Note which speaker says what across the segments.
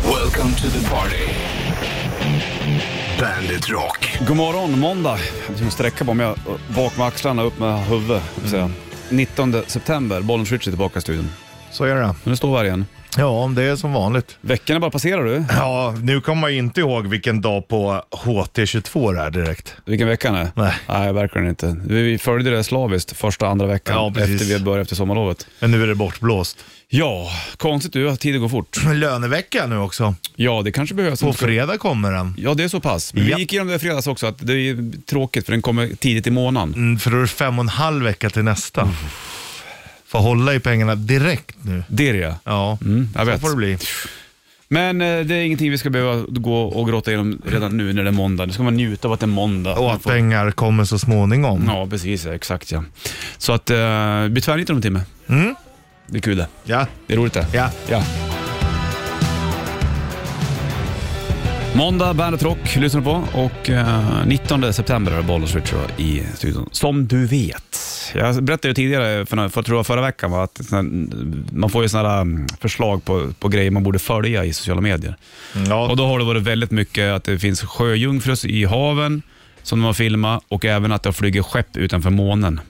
Speaker 1: Welcome to the party. Bandit Rock.
Speaker 2: God morgon, måndag. Jag måste sträcka på mig bak med axlarna, upp med huvudet. Mm. 19 september, Bollen Switch är tillbaka i studion.
Speaker 3: Så är det.
Speaker 2: Men nu står vi här igen.
Speaker 3: Ja, det är som vanligt.
Speaker 2: Veckorna bara passerar du.
Speaker 3: Ja, nu kommer man ju inte ihåg vilken dag på HT22 det är direkt.
Speaker 2: Vilken vecka är det?
Speaker 3: Nej.
Speaker 2: Nej, verkligen inte. Vi följde det slaviskt första, andra veckan
Speaker 3: Ja, precis.
Speaker 2: efter vi började efter sommarlovet.
Speaker 3: Men nu är det bortblåst.
Speaker 2: Ja, konstigt du, att tiden går fort.
Speaker 3: Men Lönevecka nu också.
Speaker 2: Ja, det kanske behövs.
Speaker 3: På fredag kommer den.
Speaker 2: Ja, det är så pass. Men
Speaker 3: Ja.
Speaker 2: vi gick igenom det i fredags också, att det är tråkigt för den kommer tidigt i månaden.
Speaker 3: Mm, För då är det fem och en halv vecka till nästa. Får hålla i pengarna direkt nu.
Speaker 2: Det är det.
Speaker 3: Ja,
Speaker 2: Mm, jag
Speaker 3: så
Speaker 2: vet.
Speaker 3: får det bli.
Speaker 2: Men eh, det är ingenting vi ska behöva gå och gråta igenom redan nu när det är måndag. Nu ska man njuta av att det är måndag.
Speaker 3: Och
Speaker 2: Man
Speaker 3: att
Speaker 2: får-
Speaker 3: pengar kommer så småningom.
Speaker 2: Ja, precis. ja, Exakt ja. Så att, eh, vi blir tvärniten om en timme.
Speaker 3: Mm.
Speaker 2: Det är kul det.
Speaker 3: Ja,
Speaker 2: Det är roligt det.
Speaker 3: ja.
Speaker 2: Ja. Måndag, Bandet Rock lyssnar du på och eh, 19 september är det Bollers Ritual i studion. Som du vet. Jag berättade ju tidigare, för, för, tror jag förra veckan, va, att sån- man får ju sådana här mm, förslag på, på grejer man borde följa i sociala medier. Och
Speaker 3: ja.
Speaker 2: då har det varit väldigt mycket att det finns sjöjungfrus i haven som de har filmat och även att det flyger skepp utanför månen.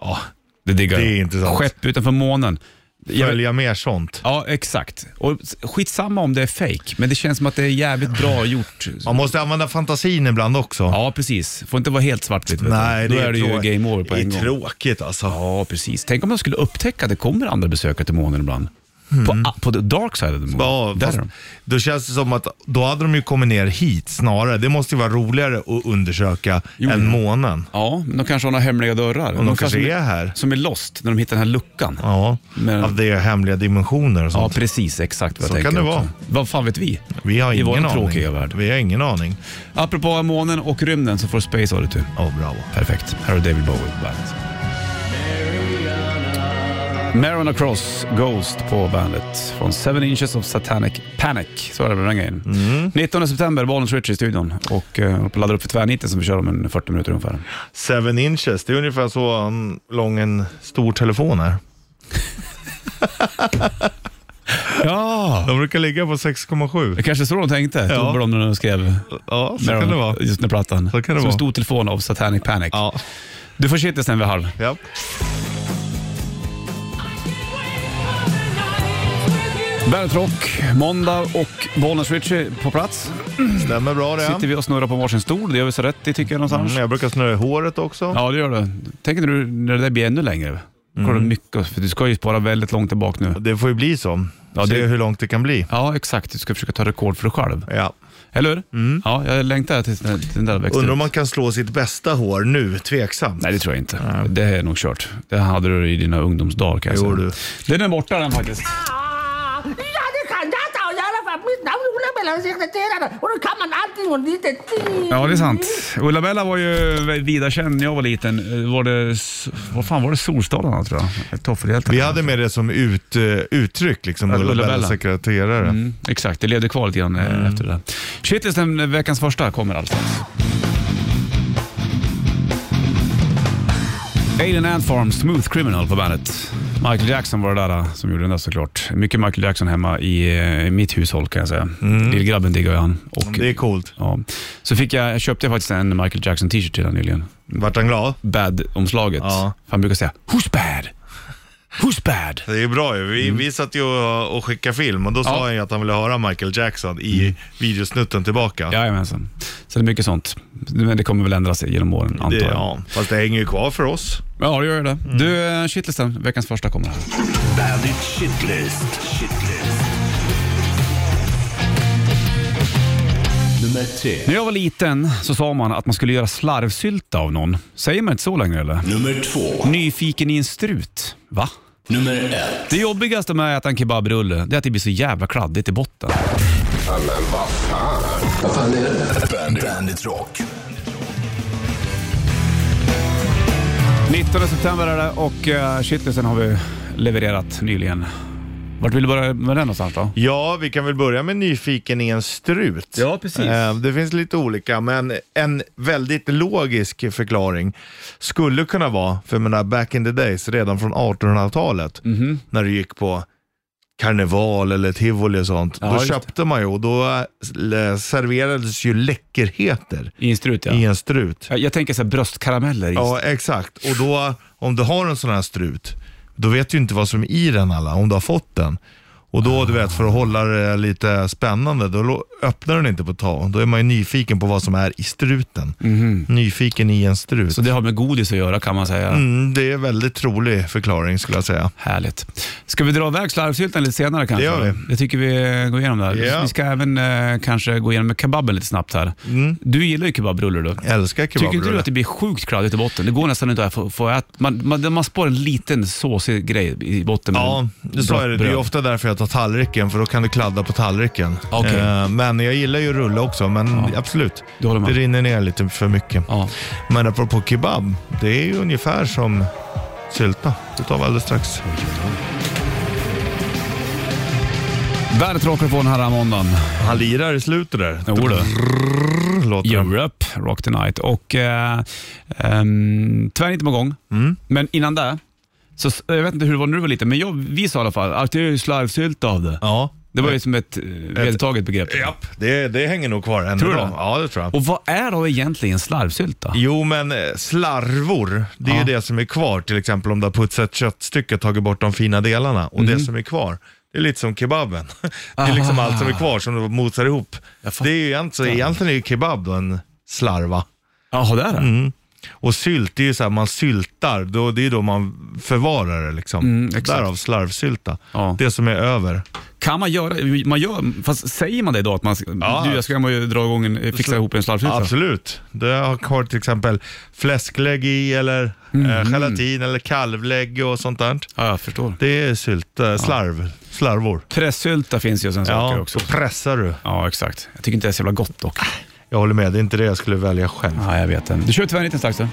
Speaker 3: ja.
Speaker 2: Det diggar
Speaker 3: Det är
Speaker 2: jag.
Speaker 3: intressant.
Speaker 2: Skepp utanför månen. Jag-
Speaker 3: Följa mer sånt.
Speaker 2: Ja, exakt. Och skitsamma om det är fake, men det känns som att det är jävligt bra gjort.
Speaker 3: Man måste använda fantasin ibland också.
Speaker 2: Ja, precis. Får inte vara helt svartvitt. vet du.
Speaker 3: Nej,
Speaker 2: Då
Speaker 3: det
Speaker 2: är det ju
Speaker 3: trå-
Speaker 2: game over på
Speaker 3: det är
Speaker 2: en gång.
Speaker 3: tråkigt alltså.
Speaker 2: Ja, precis. Tänk om de skulle upptäcka att det kommer andra besökare till månen ibland. På, på the dark side of the moon.
Speaker 3: Mm. Ja,
Speaker 2: Där
Speaker 3: fast
Speaker 2: är de.
Speaker 3: då känns det som att då hade de ju kommit ner hit snarare. Det måste ju vara roligare att undersöka
Speaker 2: Jo,
Speaker 3: än
Speaker 2: ja.
Speaker 3: månen.
Speaker 2: Ja, men de kanske har några hemliga dörrar.
Speaker 3: Om de
Speaker 2: kanske
Speaker 3: kanske
Speaker 2: som
Speaker 3: är här.
Speaker 2: Som är lost när de hittar den här luckan. Ja,
Speaker 3: Ja,
Speaker 2: Men-
Speaker 3: att det är hemliga dimensioner och sånt.
Speaker 2: precis. Exakt vad jag
Speaker 3: Så
Speaker 2: tänker
Speaker 3: kan det
Speaker 2: också.
Speaker 3: vara.
Speaker 2: Vad fan vet vi?
Speaker 3: Vi har
Speaker 2: I
Speaker 3: ingen
Speaker 2: vår
Speaker 3: aning.
Speaker 2: tråkiga värld.
Speaker 3: Vi har ingen aning.
Speaker 2: Apropå månen och rymden så får Space Oddity.
Speaker 3: Ja, bravo.
Speaker 2: Perfekt. Här har David Bowie på bandet. Marion Cross Ghost på bandet från Seven Inches of Satanic Panic. Så är det med den grejen.
Speaker 3: Mm.
Speaker 2: 19 september, Bollens Rich i studion och eh, laddar upp för tvärniten som vi kör om en 40 minuter ungefär.
Speaker 3: Seven inches, det är ungefär så en- lång en stor telefon är.
Speaker 2: Ja!
Speaker 3: De brukar ligga på 6,7.
Speaker 2: Det kanske är så de tänkte,
Speaker 3: Ja.
Speaker 2: ja. de när de skrev
Speaker 3: Ja, så
Speaker 2: Marion,
Speaker 3: kan det vara.
Speaker 2: just den här plattan.
Speaker 3: Så kan det
Speaker 2: som en
Speaker 3: vara.
Speaker 2: stor telefon av Satanic Panic.
Speaker 3: Ja.
Speaker 2: Du får kittet sen vid halv.
Speaker 3: Ja.
Speaker 2: Bandet Rock, måndag och Bollens Richie på plats.
Speaker 3: Stämmer bra det.
Speaker 2: Sitter vi och snurrar på varsin stol, det gör vi så rätt i tycker jag någonstans.
Speaker 3: Mm, jag brukar snurra i håret också.
Speaker 2: Ja, det gör det. Tänk när, du, när det där blir ännu längre. Då
Speaker 3: Mm.
Speaker 2: Kollar du mycket, för du ska ju spara väldigt långt tillbaka nu.
Speaker 3: Det får ju bli så.
Speaker 2: Ja,
Speaker 3: Se
Speaker 2: det-
Speaker 3: hur långt det kan bli.
Speaker 2: Ja, exakt. Du ska försöka ta rekord för dig själv.
Speaker 3: Ja.
Speaker 2: Eller hur? Ja, jag längtar tills den, till den där växte
Speaker 3: Mm. Undrar om
Speaker 2: ut.
Speaker 3: man kan slå sitt bästa hår nu, tveksamt.
Speaker 2: Nej, det tror jag inte. Det är nog kört. Det hade du i dina ungdomsdagar kan jag
Speaker 3: Jo,
Speaker 2: säga.
Speaker 3: du.
Speaker 2: Den är borta den faktiskt.
Speaker 4: Ja, det kan jag ta och göra för att mitt namn är Ola Mellan sekreterare och då kan man allting och lite till.
Speaker 2: Ja, det är sant. Ulla-Bella var ju vida känd när jag var liten. Eh, Var det, s- vad fan var det Solstolarna tror jag? Toffelhjältarna.
Speaker 3: Vi hade med det som ut, eh, uttryck, liksom,
Speaker 2: Ja,
Speaker 3: Ulla
Speaker 2: Ulla Bella.
Speaker 3: Bellas sekreterare.
Speaker 2: Mm, exakt, det levde kvar lite grann
Speaker 3: Mm.
Speaker 2: eh, efter det där. Shitlisten, veckans första, kommer alltså. Alien Ant Farm, Smooth Criminal på bandet. Michael Jackson var det där eh, som gjorde den där såklart. Mycket Michael Jackson hemma i, eh, i mitt hushåll kan jag säga. Lillgrabben diggar ju han. Och,
Speaker 3: Mm. Det är coolt.
Speaker 2: ja. Så fick jag, jag köpte faktiskt en Michael Jackson t-shirt till honom nyligen.
Speaker 3: Vart han glad?
Speaker 2: Bad-omslaget.
Speaker 3: Ja.
Speaker 2: För Han brukar säga “Who's bad?” “Who's bad?”
Speaker 3: Det är bra ju. Vi, vi satt ju och, och skickade film och då sa
Speaker 2: Mm. Ja. Mm.
Speaker 3: han ju att han ville höra Michael Jackson i videosnutten tillbaka.
Speaker 2: Jajamensan. Så det är mycket sånt. Men det kommer väl ändras genom åren, antar
Speaker 3: det,
Speaker 2: jag.
Speaker 3: ja. Fast det hänger ju kvar för oss.
Speaker 2: Ja, det gör det.
Speaker 3: Mm.
Speaker 2: Du, eh, shitlisten, veckans första kommer här.
Speaker 1: Bandit Shitlist. Shitlist. Nummer tre.
Speaker 2: När jag var liten så sa man att man skulle göra slarvsylta av någon. Säger man inte så längre eller?
Speaker 1: Nummer två.
Speaker 2: Nyfiken i en strut. Va?
Speaker 1: Nummer ett.
Speaker 2: Det jobbigaste med att äta en kebabrulle, det är att det blir så jävla kladdigt i botten.
Speaker 1: Vad fan är det? Bandit, Bandit Rock.
Speaker 2: 19 september är det och eh, shitlisten har vi levererat nyligen. Vart vill du börja med den någonstans då?
Speaker 3: Ja, vi kan väl börja med nyfiken i en strut.
Speaker 2: Ja, precis.
Speaker 3: Eh, Det finns lite olika, men en väldigt logisk förklaring skulle kunna
Speaker 2: Mhm.
Speaker 3: vara, för jag menar back in the days, redan från 1800-talet, när du gick på karneval eller tivoli och sånt,
Speaker 2: Ja,
Speaker 3: då
Speaker 2: just det.
Speaker 3: köpte man ju och då eh, serverades ju läckerheter
Speaker 2: I en strut ja.
Speaker 3: i en strut.
Speaker 2: Jag, jag tänker så här bröstkarameller. i-
Speaker 3: Ja, exakt. Och då, om du har en sån här strut, då vet du ju inte vad som är i den alla, om du har fått den. Och då, du vet, för att hålla det lite spännande, då lo- öppnar den inte på ett tag. Då är man ju nyfiken på vad som är i struten. Nyfiken i en strut.
Speaker 2: Mhm. Så det har med godis att göra kan man säga.
Speaker 3: Mm, det är en väldigt trolig förklaring skulle jag säga.
Speaker 2: Härligt. Ska vi dra iväg slarvsyltan lite senare kanske?
Speaker 3: Det gör vi.
Speaker 2: Jag tycker vi går igenom det här.
Speaker 3: Ja.
Speaker 2: Vi ska även eh, kanske gå igenom kebaben lite snabbt här. Du gillar ju kebabrulle du.
Speaker 3: Mm. Jag älskar
Speaker 2: Tycker inte du
Speaker 3: kebabrulle.
Speaker 2: att det blir sjukt kladdigt i botten? Det går nästan inte att få, få äta. Man, man, man spår en liten såsig grej i botten. med
Speaker 3: Ja, det sa jag det. Det är ju
Speaker 2: bröd.
Speaker 3: ofta därför jag tar tallriken, för då kan du kladda på tallriken.
Speaker 2: Okej.
Speaker 3: Eh, Men jag gillar ju rulle också, men absolut.
Speaker 2: Du håller med.
Speaker 3: Det rinner ner lite för mycket.
Speaker 2: Ja.
Speaker 3: Men apropå kebab, det är ju ungefär som sylta. Det tar vi alldeles strax.
Speaker 2: Bandet rockar på den här måndagen.
Speaker 3: Han lirar i slutet där.
Speaker 2: Jo du.
Speaker 3: Brrr, Låter det.
Speaker 2: Europe, Rock the Night. Och eh, ehm, tyvärr inte på gång,
Speaker 3: Mm.
Speaker 2: men innan det, så, s- jag vet inte hur det var när du var liten, men jag, vi sa i alla fall att det är ju slarvsylta av det.
Speaker 3: Ja.
Speaker 2: Det var ju som ett eh, vedertaget begrepp.
Speaker 3: Japp, det, det hänger nog kvar än
Speaker 2: Tror du
Speaker 3: idag.
Speaker 2: det?
Speaker 3: Ja, det tror jag.
Speaker 2: Och vad är då egentligen slarvsylta?
Speaker 3: Jo, men eh, slarvor, det är ju det som är kvar. Till exempel om du har putsat ett köttstycke och tagit bort de fina delarna. Och
Speaker 2: Mm.
Speaker 3: det som är kvar, det är lite som kebaben. Det är liksom
Speaker 2: Aha.
Speaker 3: allt som är kvar som du mosar ihop. Det är ju egentligen, egentligen är ju kebab då en slarva.
Speaker 2: Jaha, det är det?
Speaker 3: Och sylt, det är ju så här, man syltar, då, det är ju då man förvarar det liksom.
Speaker 2: Mm, exakt.
Speaker 3: Därav slarvsylta.
Speaker 2: Ja.
Speaker 3: Det som är över.
Speaker 2: Kan man göra, man gör, fast säger man det idag att man,
Speaker 3: Ja.
Speaker 2: du jag ska man ju dra igång en, eh, fixa ihop en slarvsylta?
Speaker 3: Absolut. Det har kvar till exempel fläsklägg i eller
Speaker 2: Mm.
Speaker 3: eh, gelatin eller kalvlägg och sånt där.
Speaker 2: Ja, jag förstår.
Speaker 3: Det är sylt, eh, slarv, slarvor.
Speaker 2: Pressylta finns ju sen saker
Speaker 3: Ja,
Speaker 2: också.
Speaker 3: så pressar du.
Speaker 2: Ja, exakt. Jag tycker inte det är så jävla gott dock.
Speaker 3: Jag håller med, det är inte det jag skulle välja själv.
Speaker 2: Ja, jag vet det. Du kör tyvärr inte strax då.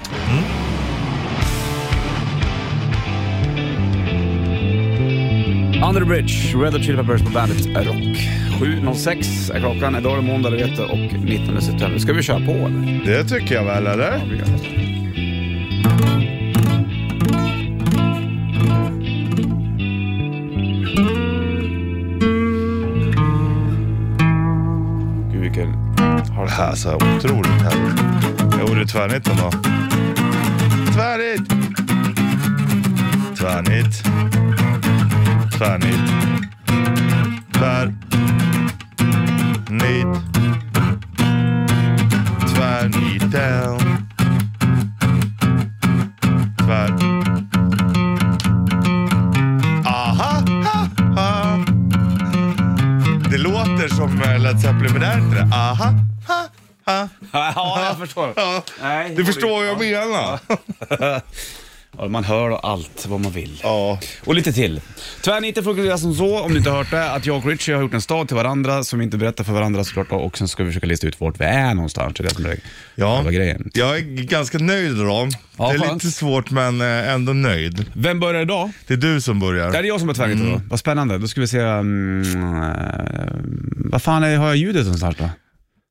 Speaker 2: Under the Bridge, Red Hot Chili Peppers på bandet Rock. 7.06 är klockan, idag är det måndag du vet det, och 19 september. Ska vi köra på eller?
Speaker 3: Det tycker jag väl, eller?
Speaker 2: Vi gör det. Gud vilken...
Speaker 3: Har det här så här otroligt här. Jo, det är tvärnitten då. Tvärnit! Tvärnit. Tvärnit. Tvär. Nit. Tvärniten. Tvär. Aha! Ha, ha. Det låter som eh, Led Zeppelin, men det är inte det. Aha! Ha, ha.
Speaker 2: Ja, jag förstår.
Speaker 3: Ja,
Speaker 2: Nej,
Speaker 3: du
Speaker 2: jag
Speaker 3: förstår vad
Speaker 2: håller-
Speaker 3: jag menar.
Speaker 2: Ja, man hör och allt vad man vill.
Speaker 3: Ja.
Speaker 2: Och lite till. Tvärniten fungerar som så, om ni inte har hört det, att jag och Richie har gjort en stad till varandra som vi inte berättar för varandra såklart. Och sen ska vi försöka lista ut vart vi är någonstans. Det är det som är
Speaker 3: Ja,
Speaker 2: själva grejen.
Speaker 3: jag är ganska nöjd då.
Speaker 2: Ja,
Speaker 3: det är
Speaker 2: skönt.
Speaker 3: lite svårt men eh, ändå nöjd.
Speaker 2: Vem börjar idag?
Speaker 3: Det är du som
Speaker 2: Det är
Speaker 3: börjar.
Speaker 2: jag som är tvärniten
Speaker 3: Mm.
Speaker 2: då. Vad spännande. Då ska vi se... Um, eh, vad fan är, har jag ljudet någonstans då?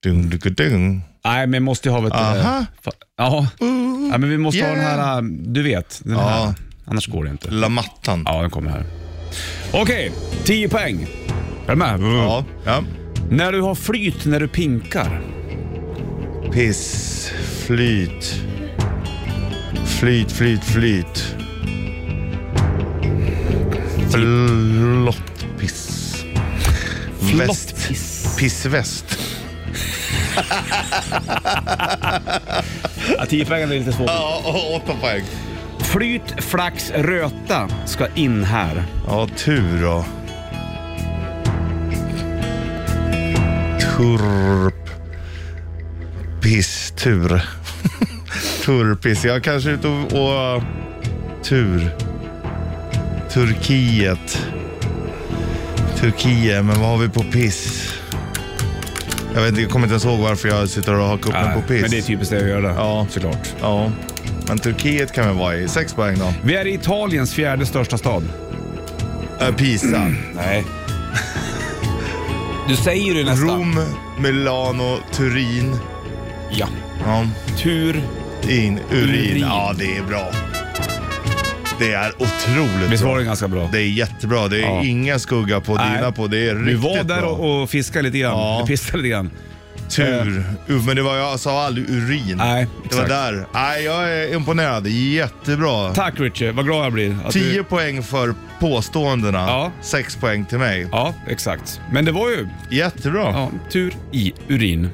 Speaker 3: Dun, dun, dun, dun.
Speaker 2: Nej, men jag måste ju ha ett... eh,
Speaker 3: Aha. Uh,
Speaker 2: fa- Ja. ja, men vi måste ha
Speaker 3: Yeah.
Speaker 2: den här, eh, du vet. Den
Speaker 3: Ja.
Speaker 2: här. Annars går det inte.
Speaker 3: La mattan.
Speaker 2: Ja, den kommer här. Okej, 10 poäng. Är du med?
Speaker 3: Ja. ja.
Speaker 2: När du har flyt när du pinkar.
Speaker 3: Piss, flyt. Flyt, flyt, flyt. Flottpiss. Väst.
Speaker 2: Flottpiss.
Speaker 3: Pissväst.
Speaker 2: Ja, 10 poängen är lite svårt.
Speaker 3: Ja, å- åtta poäng.
Speaker 2: Flyt, flax, röta ska in här.
Speaker 3: Ja, tur då. Turp. Piss, tur. Turpiss. Jag kanske är ute och, och... Tur. Turkiet. Turkiet, men vad har vi på piss? Jag, vet, inte, jag kommer inte ens ihåg varför jag sitter och hakar upp mig på piss.
Speaker 2: men det är typ- typiskt det jag gör det.
Speaker 3: Ja.
Speaker 2: såklart.
Speaker 3: Ja, men Turkiet kan väl vara i. Sex poäng då.
Speaker 2: Vi är i Italiens fjärde största stad.
Speaker 3: Äh, Pisa.
Speaker 2: Nej. Du säger ju nästan.
Speaker 3: Rom, Milano, Turin.
Speaker 2: Ja.
Speaker 3: Ja,
Speaker 2: Tur.
Speaker 3: in, urin.
Speaker 2: Urin.
Speaker 3: Ja, det är bra. Det är otroligt
Speaker 2: Visst
Speaker 3: bra.
Speaker 2: var det ganska bra?
Speaker 3: Det är jättebra. Det är
Speaker 2: Ja.
Speaker 3: inga skugga på
Speaker 2: Nej.
Speaker 3: dina på. Det är
Speaker 2: Vi
Speaker 3: riktigt
Speaker 2: var där
Speaker 3: bra.
Speaker 2: och, och fiskade lite grann,
Speaker 3: Ja.
Speaker 2: pissade lite grann.
Speaker 3: Tur. Uh, men det var, jag sa aldrig urin.
Speaker 2: Eh. Nej,
Speaker 3: det var
Speaker 2: exakt.
Speaker 3: där. Nej, jag är imponerad. Jättebra.
Speaker 2: Tack Richard, vad glad jag blir. att
Speaker 3: 10
Speaker 2: du-
Speaker 3: poäng för påståendena,
Speaker 2: Ja.
Speaker 3: 6 poäng till mig.
Speaker 2: Ja, exakt. Men det var ju
Speaker 3: Jättebra. Ja.
Speaker 2: ja, tur i urin.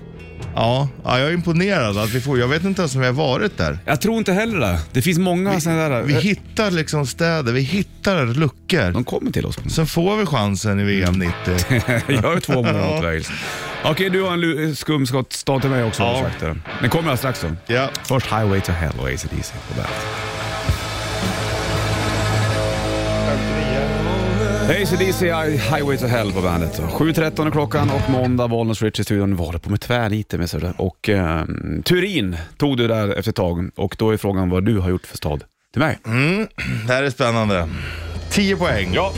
Speaker 3: Ja. jag är imponerad att vi får. Jag vet inte ens om jag har varit där.
Speaker 2: Jag tror inte heller det. Det finns många sådana där...
Speaker 3: Vi hittar liksom städer, vi hittar luckor.
Speaker 2: de kommer till oss.
Speaker 3: Sen får vi chansen i VM 90.
Speaker 2: Jag har ju två mål
Speaker 3: Ja.
Speaker 2: mot Wales. Okej, du har en lu- eh, skumskottstad till mig också.
Speaker 3: Ja.
Speaker 2: Ja. Den kommer jag strax då.
Speaker 3: Ja.
Speaker 2: Först Highway to Hell och ACDC på bandet. ACDC, Highway to Hell på bandet. 7.13 är klockan och måndag, Bollnäs Rich i studion. Var det på med tvärniten med sådär. Och eh, Turin tog du där efter ett tag och då är frågan vad du har gjort för stad till mig.
Speaker 3: Det här är spännande. 10 poäng.
Speaker 2: Ja.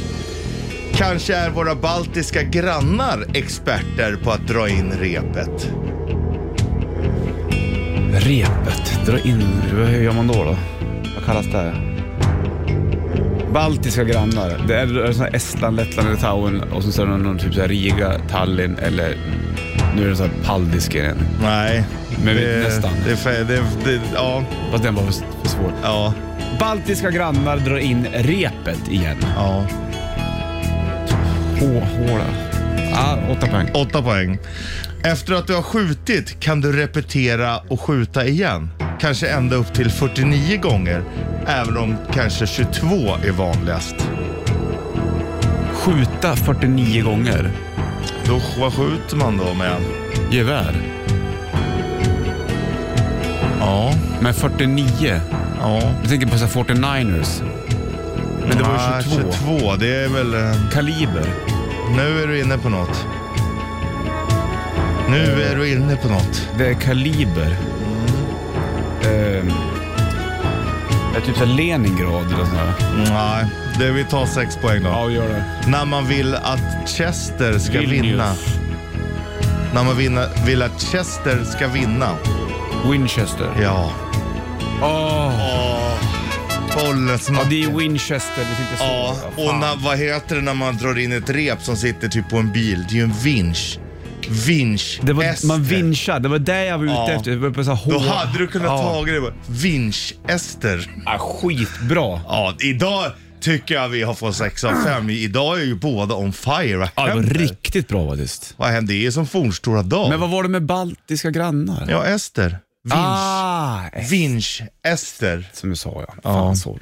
Speaker 3: Kanske är våra baltiska grannar experter på att dra in repet.
Speaker 2: Repet, dra in, hur gör man då? då? Vad kallas det? här? Baltiska grannar. Det är, det är såna här Estland, Lettland, Litauen och så är det någon typ så här Riga, Tallinn eller nu är det så här Paldisk igen.
Speaker 3: Nej.
Speaker 2: Men vi- nästan.
Speaker 3: Det, är fe- det, det, ja,
Speaker 2: Fast den var för, för svår.
Speaker 3: ja,
Speaker 2: Baltiska grannar drar in repet igen.
Speaker 3: ja.
Speaker 2: Hå, håla. Ah, åtta poäng.
Speaker 3: Åtta poäng. Efter att du har skjutit kan du repetera och skjuta igen. Kanske ända upp till 49 gånger, även om kanske 22 är vanligast.
Speaker 2: Skjuta 49 gånger.
Speaker 3: Då, vad skjuter man då med?
Speaker 2: Gevär.
Speaker 3: Ja,
Speaker 2: Men 49.
Speaker 3: ja.
Speaker 2: Jag tänker på så här 49ers. Men det var ju 22.
Speaker 3: 22, det är väl... eh,
Speaker 2: Kaliber.
Speaker 3: Nu är du inne på något. Nu är du inne på något.
Speaker 2: Det är kaliber. Ehm, det är typ såhär Leningrad eller sådär.
Speaker 3: Nej, det vi tar sex poäng då.
Speaker 2: gör det.
Speaker 3: När man vill att Chester ska
Speaker 2: Vilnius.
Speaker 3: vinna. När man vinna, vill att Chester ska vinna.
Speaker 2: Winchester.
Speaker 3: Ja.
Speaker 2: Åh,
Speaker 3: Åh,
Speaker 2: Ja,
Speaker 3: Bollnäsmack.
Speaker 2: det är Winchester. Det är inte så.
Speaker 3: Ja,
Speaker 2: Fan.
Speaker 3: och när, vad heter det när man drar in ett rep som sitter typ på en bil? Det är ju en vinsch. Vinsch.
Speaker 2: det var,
Speaker 3: Ester.
Speaker 2: man vinschar. Det var det jag var ute
Speaker 3: Ja.
Speaker 2: efter. Det var på så här
Speaker 3: Då
Speaker 2: hår-
Speaker 3: hade du kunnat
Speaker 2: ja.
Speaker 3: tagit det. bara, Vinsch-Ester.
Speaker 2: Ja, skitbra.
Speaker 3: Ja, idag tycker jag vi har fått 6 av 5. Idag är ju båda on fire. Vad
Speaker 2: Ja, det var
Speaker 3: händer?
Speaker 2: riktigt bra faktiskt.
Speaker 3: Vad händer? Det är som fornstora dag.
Speaker 2: Men vad var det med baltiska grannar?
Speaker 3: Ja, Ester. Vinsch.
Speaker 2: Ah, eh,
Speaker 3: Vinsch, Ester.
Speaker 2: som jag sa ja. Fan, sorry.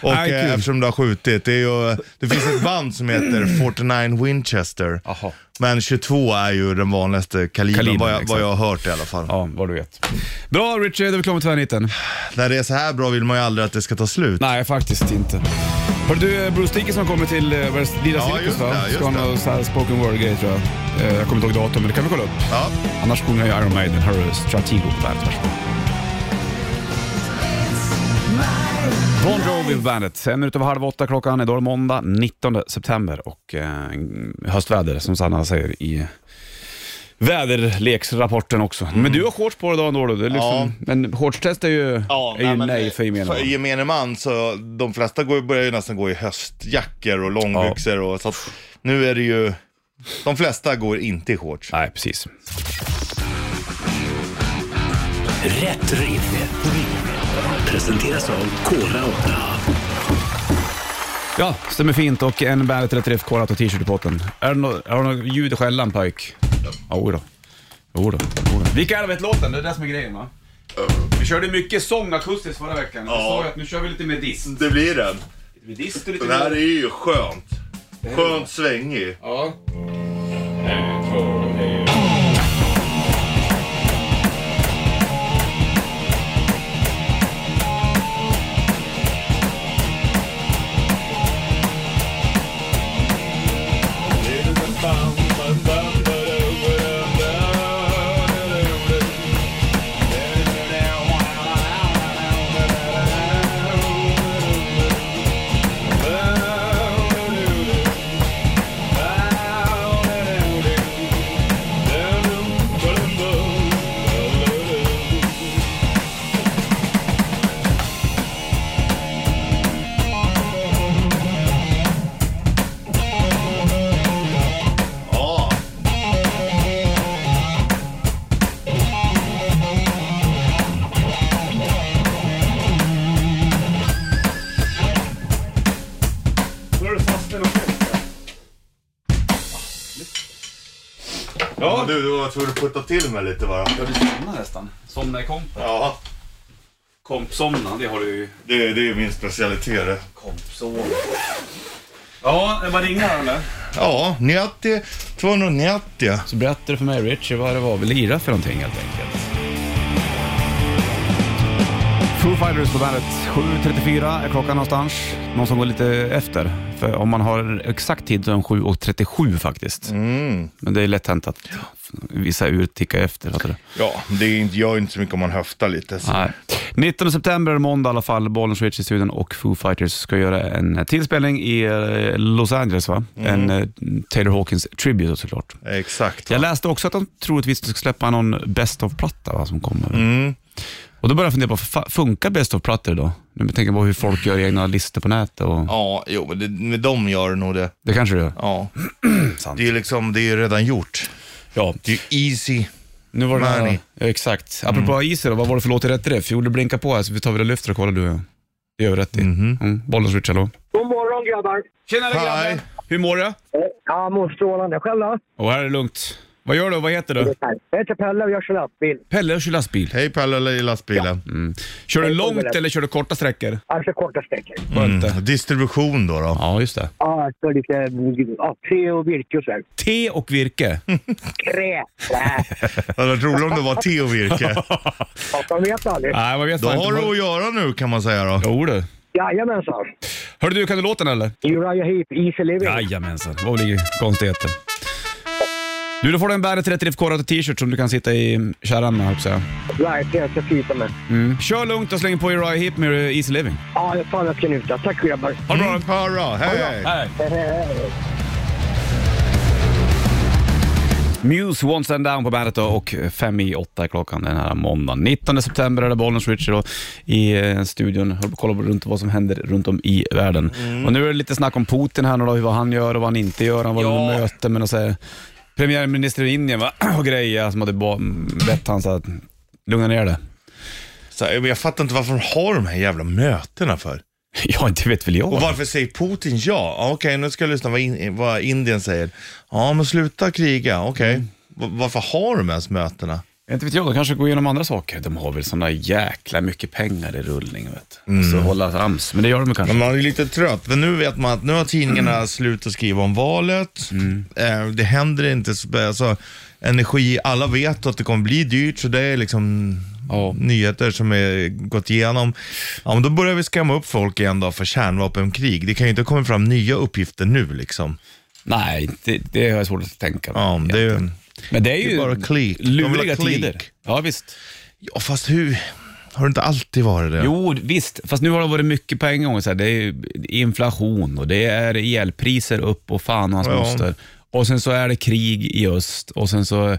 Speaker 3: Och
Speaker 2: Nej,
Speaker 3: eh,
Speaker 2: kul.
Speaker 3: eftersom du har skjutit, det, är ju, det finns ett band som heter 49 Winchester.
Speaker 2: Aha.
Speaker 3: Men 22 är ju den vanligaste kalibern,
Speaker 2: Kalibern,
Speaker 3: vad, jag,
Speaker 2: exakt.
Speaker 3: vad jag har hört i alla fall.
Speaker 2: Ja, vad du vet. Bra Richard, då är vi klara med tvärniten.
Speaker 3: När det är så här bra vill man ju aldrig att det ska ta slut.
Speaker 2: Nej, faktiskt inte. Hör du, Bruce Dickinson kommer till eh, vad är det, Lilla
Speaker 3: Ja,
Speaker 2: Cirkus
Speaker 3: just
Speaker 2: va?
Speaker 3: det, just
Speaker 2: Ska ha
Speaker 3: det.
Speaker 2: någon sån här spoken word-grej tror jag. Eh, Jag kommer inte ihåg datum, men det kan vi kolla upp.
Speaker 3: Ja.
Speaker 2: Annars sjunger jag Iron Maiden. Här är Stratego på bandet. Varsågod. Bon Jovi på bandet. En minut över halv åtta klockan. Idag är det måndag 19 september och eh, höstväder som Sanna säger i väderleksrapporten också. Men du har shorts på dig idag ändå. då. Det är liksom,
Speaker 3: Mm. Ja.
Speaker 2: Men shortstest är ju,
Speaker 3: Ja,
Speaker 2: är ju
Speaker 3: men, eh,
Speaker 2: nej, för gemene
Speaker 3: för
Speaker 2: man.
Speaker 3: gemene man. Så de flesta går, börjar ju nästan gå i höstjackor och långbyxor. Och, så att, nu är det ju... De flesta går inte i shorts.
Speaker 2: Nej, precis.
Speaker 1: Rätt riff. Presenteras av Kora 8.
Speaker 2: Ja, stämmer fint och en Bandet Rätt Riff korat och t-shirt i potten. Är det nå- Har du något ljud i skällan pojk? Jo då. Jo då. Jo då. Vilka är det vet låten? Det är det som är grejen va? Vi körde mycket sång akustiskt förra veckan. Jag
Speaker 3: Ja.
Speaker 2: sa ju att nu kör vi lite mer dist.
Speaker 3: Det blir den.
Speaker 2: Lite mer dist och lite
Speaker 3: Den här är
Speaker 2: mer...
Speaker 3: ju skönt. Skönt svängig.
Speaker 2: Ja.
Speaker 3: Ja, du, du var tvungen att putta till mig lite bara.
Speaker 2: Ja, du somnade nästan. Somnade komp.
Speaker 3: Ja,
Speaker 2: Kompsomna, det har du ju.
Speaker 3: det, det är min specialitet.
Speaker 2: Kompsov. Ja, det var ringa eller?
Speaker 3: Ja, 90, 290.
Speaker 2: Så berättade för mig Richie vad det var vi lirade för någonting helt enkelt. Foo Fighters på bandet. 7.34 är klockan någonstans. Någon som går lite efter. För om man har exakt tid så är den 7.37 faktiskt. Men det är lätt hänt att vissa ur tickar efter. fattar du?
Speaker 3: Ja, det är inte- gör inte så mycket om man höftar lite. Så.
Speaker 2: Nej. 19 september är det måndag i alla fall. Bollen Switch i studion och Foo Fighters ska göra en tillspelning i eh, Los Angeles. va? En eh, Taylor Hawkins tribute såklart.
Speaker 3: Exakt.
Speaker 2: Jag läste också att de troligtvis ska släppa någon Best of-platta va, som kommer. Och då började jag fundera på, fa- funkar Best of-plattor då? Nu tänker jag på hur folk gör egna listor på nätet. Och...
Speaker 3: Ja, jo, men det, med dem gör det nog det.
Speaker 2: Det kanske det gör.
Speaker 3: Ja.
Speaker 2: Sant.
Speaker 3: Det är ju liksom, det är ju redan gjort.
Speaker 2: Ja.
Speaker 3: Det är ju easy.
Speaker 2: Nu var det den här,
Speaker 3: Money.
Speaker 2: ja, exakt. Apropå Easy då, vad var det för låt i rätt riff? Jo, det blinkar på här så vi tar väl och lyfter och kollar du och jag. Det gör vi rätt i. Mm. Bollen Switch, hallå.
Speaker 5: God morgon grabbar!
Speaker 2: Tjenare
Speaker 3: Hej.
Speaker 2: Hur mår du?
Speaker 5: Eh, Ja, mår strålande. Själv då?
Speaker 2: Och här är det lugnt. Vad gör du? Vad heter du?
Speaker 5: Jag heter Pelle och jag kör lastbil.
Speaker 2: Pelle och kör lastbil.
Speaker 3: Hej Pelle i lastbilen.
Speaker 2: Kör du
Speaker 5: Hej,
Speaker 2: långt
Speaker 5: Pelle.
Speaker 2: eller kör du korta sträckor?
Speaker 5: Alltså korta sträckor.
Speaker 2: Skönt det.
Speaker 3: Mm. Distribution då. då.
Speaker 2: Ja, just det.
Speaker 5: Ja, så lite ja, te och virke och sådär.
Speaker 2: Te och virke.
Speaker 5: Krä! Nä,
Speaker 3: Det hade varit roligt om det var te och virke.
Speaker 5: Man vet aldrig.
Speaker 2: Nej, man vet
Speaker 3: Då
Speaker 2: fan
Speaker 3: har
Speaker 2: inte.
Speaker 3: du att göra nu kan man säga då.
Speaker 2: Jo du.
Speaker 5: Jajamensan.
Speaker 2: Hörde du, kan du låten eller?
Speaker 5: Uriah Heep, Easy Living.
Speaker 2: Jajamensan, det var väl inga konstigheter. Du, då får du en Bandet 30 FK och t-shirt som du kan sitta i kärran med, höll jag på att säga.
Speaker 5: Verkligen, så fint med.
Speaker 2: mm. Kör lugnt och släng på Uriah Heep med eh, Easy Living.
Speaker 5: Ja, jag fan jag ska njuta. Tack grabbar.
Speaker 2: Ha det bra.
Speaker 3: Mm, hurra, hej!
Speaker 2: Hej. Muse Once and Down på bandet då, och fem i åtta är klockan den här måndagen. 19 september är det Bollnäs Richie då i eh, studion. Håller på att kolla runt vad som händer runt om i världen. Och nu är det lite snack om Putin här nu då, vad han gör och vad han inte gör. Han var ja. med möte med någon så här, premiärminister i Indien va? och grejer som hade ba- bett han så att lugna ner det.
Speaker 3: Så, här, men jag fattar inte varför de har de här jävla mötena för.
Speaker 2: Ja, inte vet väl jag.
Speaker 3: Och varför säger Putin ja? Ja, Okej, nu ska jag lyssna vad, in, vad Indien säger. Ja, men sluta kriga. Okej. Va- Varför har de ens mötena?
Speaker 2: Inte vet jag, de kanske går igenom andra saker. De har väl såna jäkla mycket pengar i rullning. Vet. du.
Speaker 3: Mm.
Speaker 2: Så hålla sams, men det gör de kanske.
Speaker 3: Men man är ju lite trött. Men nu vet man att nu har tidningarna
Speaker 2: Mm.
Speaker 3: slutat skriva om valet. Eh, det händer inte så alltså, Energi, alla vet att det kommer bli dyrt så det är liksom
Speaker 2: Ja.
Speaker 3: nyheter som är gått igenom. Ja, men då börjar vi skrämma upp folk igen då för kärnvapenkrig. Det kan ju inte komma fram nya uppgifter nu liksom.
Speaker 2: Nej, det, det har jag svårt att tänka mig.
Speaker 3: Ja, det är,
Speaker 2: men det är ju
Speaker 3: det är bara klick. De vill ha
Speaker 2: luriga
Speaker 3: klick.
Speaker 2: tider. Ja, visst.
Speaker 3: ja fast hur? Har det inte alltid varit det?
Speaker 2: Jo, visst. Fast nu har det varit mycket på en gång. Så här, det är ju inflation och det är elpriser upp och fan och hans
Speaker 3: Ja.
Speaker 2: moster. Och sen så är det krig i öst och sen så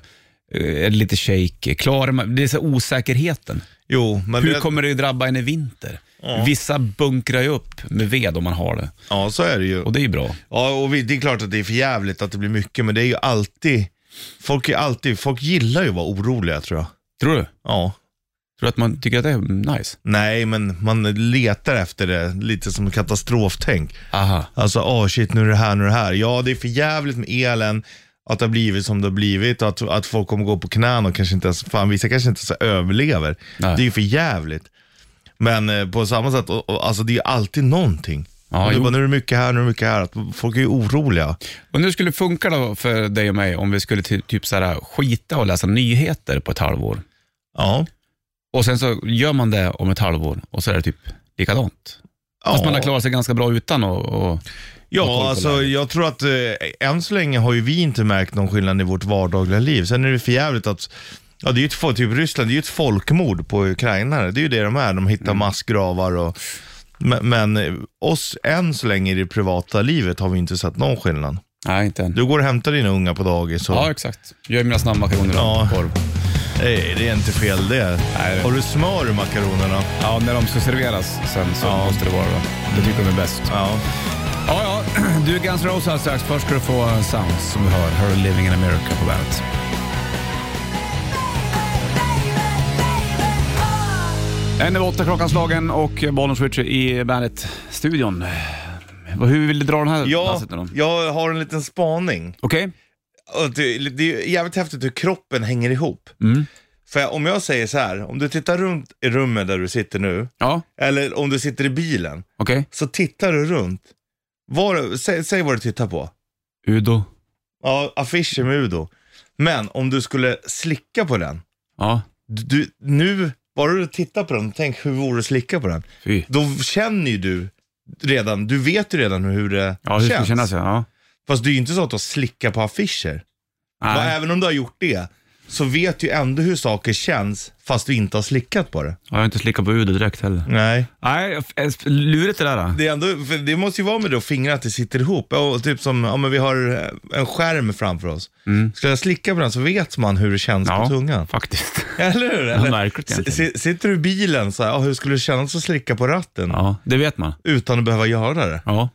Speaker 2: eh, är det lite shake. Klarar man, det är så här osäkerheten.
Speaker 3: Jo, men
Speaker 2: Hur
Speaker 3: det,
Speaker 2: kommer det drabba en i vinter? Vissa bunkrar ju upp med ved om man har det
Speaker 3: ja, så är det ju.
Speaker 2: och det är ju bra.
Speaker 3: Ja, och vi, det är klart att det är för jävligt att det blir mycket, men det är ju alltid, folk är alltid, folk gillar ju att vara oroliga tror jag.
Speaker 2: Tror du? Tror
Speaker 3: Ja.
Speaker 2: du att man tycker att det är nice?
Speaker 3: Nej, men man letar efter det lite som katastroftänk.
Speaker 2: Aha.
Speaker 3: Alltså, ah shit, nu är det här, nu är det här. Ja, det är för jävligt med elen, att det har blivit som det har blivit och att, att folk kommer gå på knäna och kanske inte ens, fan vissa kanske inte ens överlever.
Speaker 2: Nej.
Speaker 3: Det är ju för jävligt. Men eh, på samma sätt, och, och, alltså det är ju alltid någonting.
Speaker 2: Ja,
Speaker 3: Och det är
Speaker 2: jo.
Speaker 3: bara, nu är det mycket här, nu är det mycket här. Att folk är ju oroliga.
Speaker 2: Och nu skulle det funka då för dig och mig om vi skulle ty- typ så här skita och läsa nyheter på ett halvår.
Speaker 3: Ja.
Speaker 2: Och sen så gör man det om ett halvår och så är det typ likadant. Fast
Speaker 3: Ja.
Speaker 2: man har klarat sig ganska bra utan och, och koll på
Speaker 3: Ja, alltså
Speaker 2: läget.
Speaker 3: jag tror att eh, än så länge har ju vi inte märkt någon skillnad i vårt vardagliga liv. Sen är det för jävligt att, ja det är ju ett, fol- typ Ryssland, det är ju ett folkmord på ukrainare. Det är ju det de är, de hittar
Speaker 2: Mm.
Speaker 3: massgravar och men, men eh, oss än så länge i det privata livet har vi inte sett någon skillnad.
Speaker 2: Nej, inte än.
Speaker 3: Du går och hämtar dina unga på dagis och...
Speaker 2: Ja, exakt. Gör mina snabbmakaroner
Speaker 3: Ja.
Speaker 2: ja. korv.
Speaker 3: Nej, det är inte fel det.
Speaker 2: Nej.
Speaker 3: Har du smör i makaronerna?
Speaker 2: Ja, när de ska serveras sen så
Speaker 3: Ja.
Speaker 2: måste det vara då. Det tycker de är bäst.
Speaker 3: Ja.
Speaker 2: Ja, ja. Du, Guns N' Roses alldeles strax. Först ska du få Sounds som vi hör. Här är Living in America på bandet. En över åtta klockan slagen och Bollnäs Switcher i bandet-studion. Hur vill du dra den här
Speaker 3: Jag,
Speaker 2: passet? då?
Speaker 3: jag har en liten spaning.
Speaker 2: Okej?
Speaker 3: och det, det är ju jävligt häftigt hur kroppen hänger ihop.
Speaker 2: Mm.
Speaker 3: För om jag säger så här, om du tittar runt i rummet där du sitter nu,
Speaker 2: Ja,
Speaker 3: eller om du sitter i bilen,
Speaker 2: okej.
Speaker 3: så tittar du runt. Var, sä, säg vad du tittar på.
Speaker 2: Udo.
Speaker 3: Ja, affischer med Udo. Men om du skulle slicka på den,
Speaker 2: Ja,
Speaker 3: du, du, nu, bara du tittar på den, tänk hur vore det att slicka på den?
Speaker 2: fy.
Speaker 3: Då känner ju du redan, du vet ju redan hur det
Speaker 2: Ja, hur ska det
Speaker 3: känns.
Speaker 2: kännas? Ja.
Speaker 3: Fast det är ju inte så att du slickar på affischer. Och
Speaker 2: Nej,
Speaker 3: även om du har gjort det, så vet du ju ändå hur saker känns, fast du inte har slickat på det.
Speaker 2: jag har inte slickat på Udo direkt heller.
Speaker 3: Nej.
Speaker 2: Nej, f- lurigt det där. då.
Speaker 3: Det, är ändå, för det måste ju vara med det och fingrar att det sitter ihop. Ja, Och typ som, ja men vi har eh, en skärm framför oss. Ska jag slicka på den så vet man hur det känns på tungan.
Speaker 2: faktiskt.
Speaker 3: Eller hur? Eller?
Speaker 2: märkligt
Speaker 3: S-
Speaker 2: egentligen.
Speaker 3: si- sitter du i bilen så här, ja, hur skulle det kännas att slicka på ratten?
Speaker 2: Ja, det vet man.
Speaker 3: Utan att behöva göra det.
Speaker 2: Ja.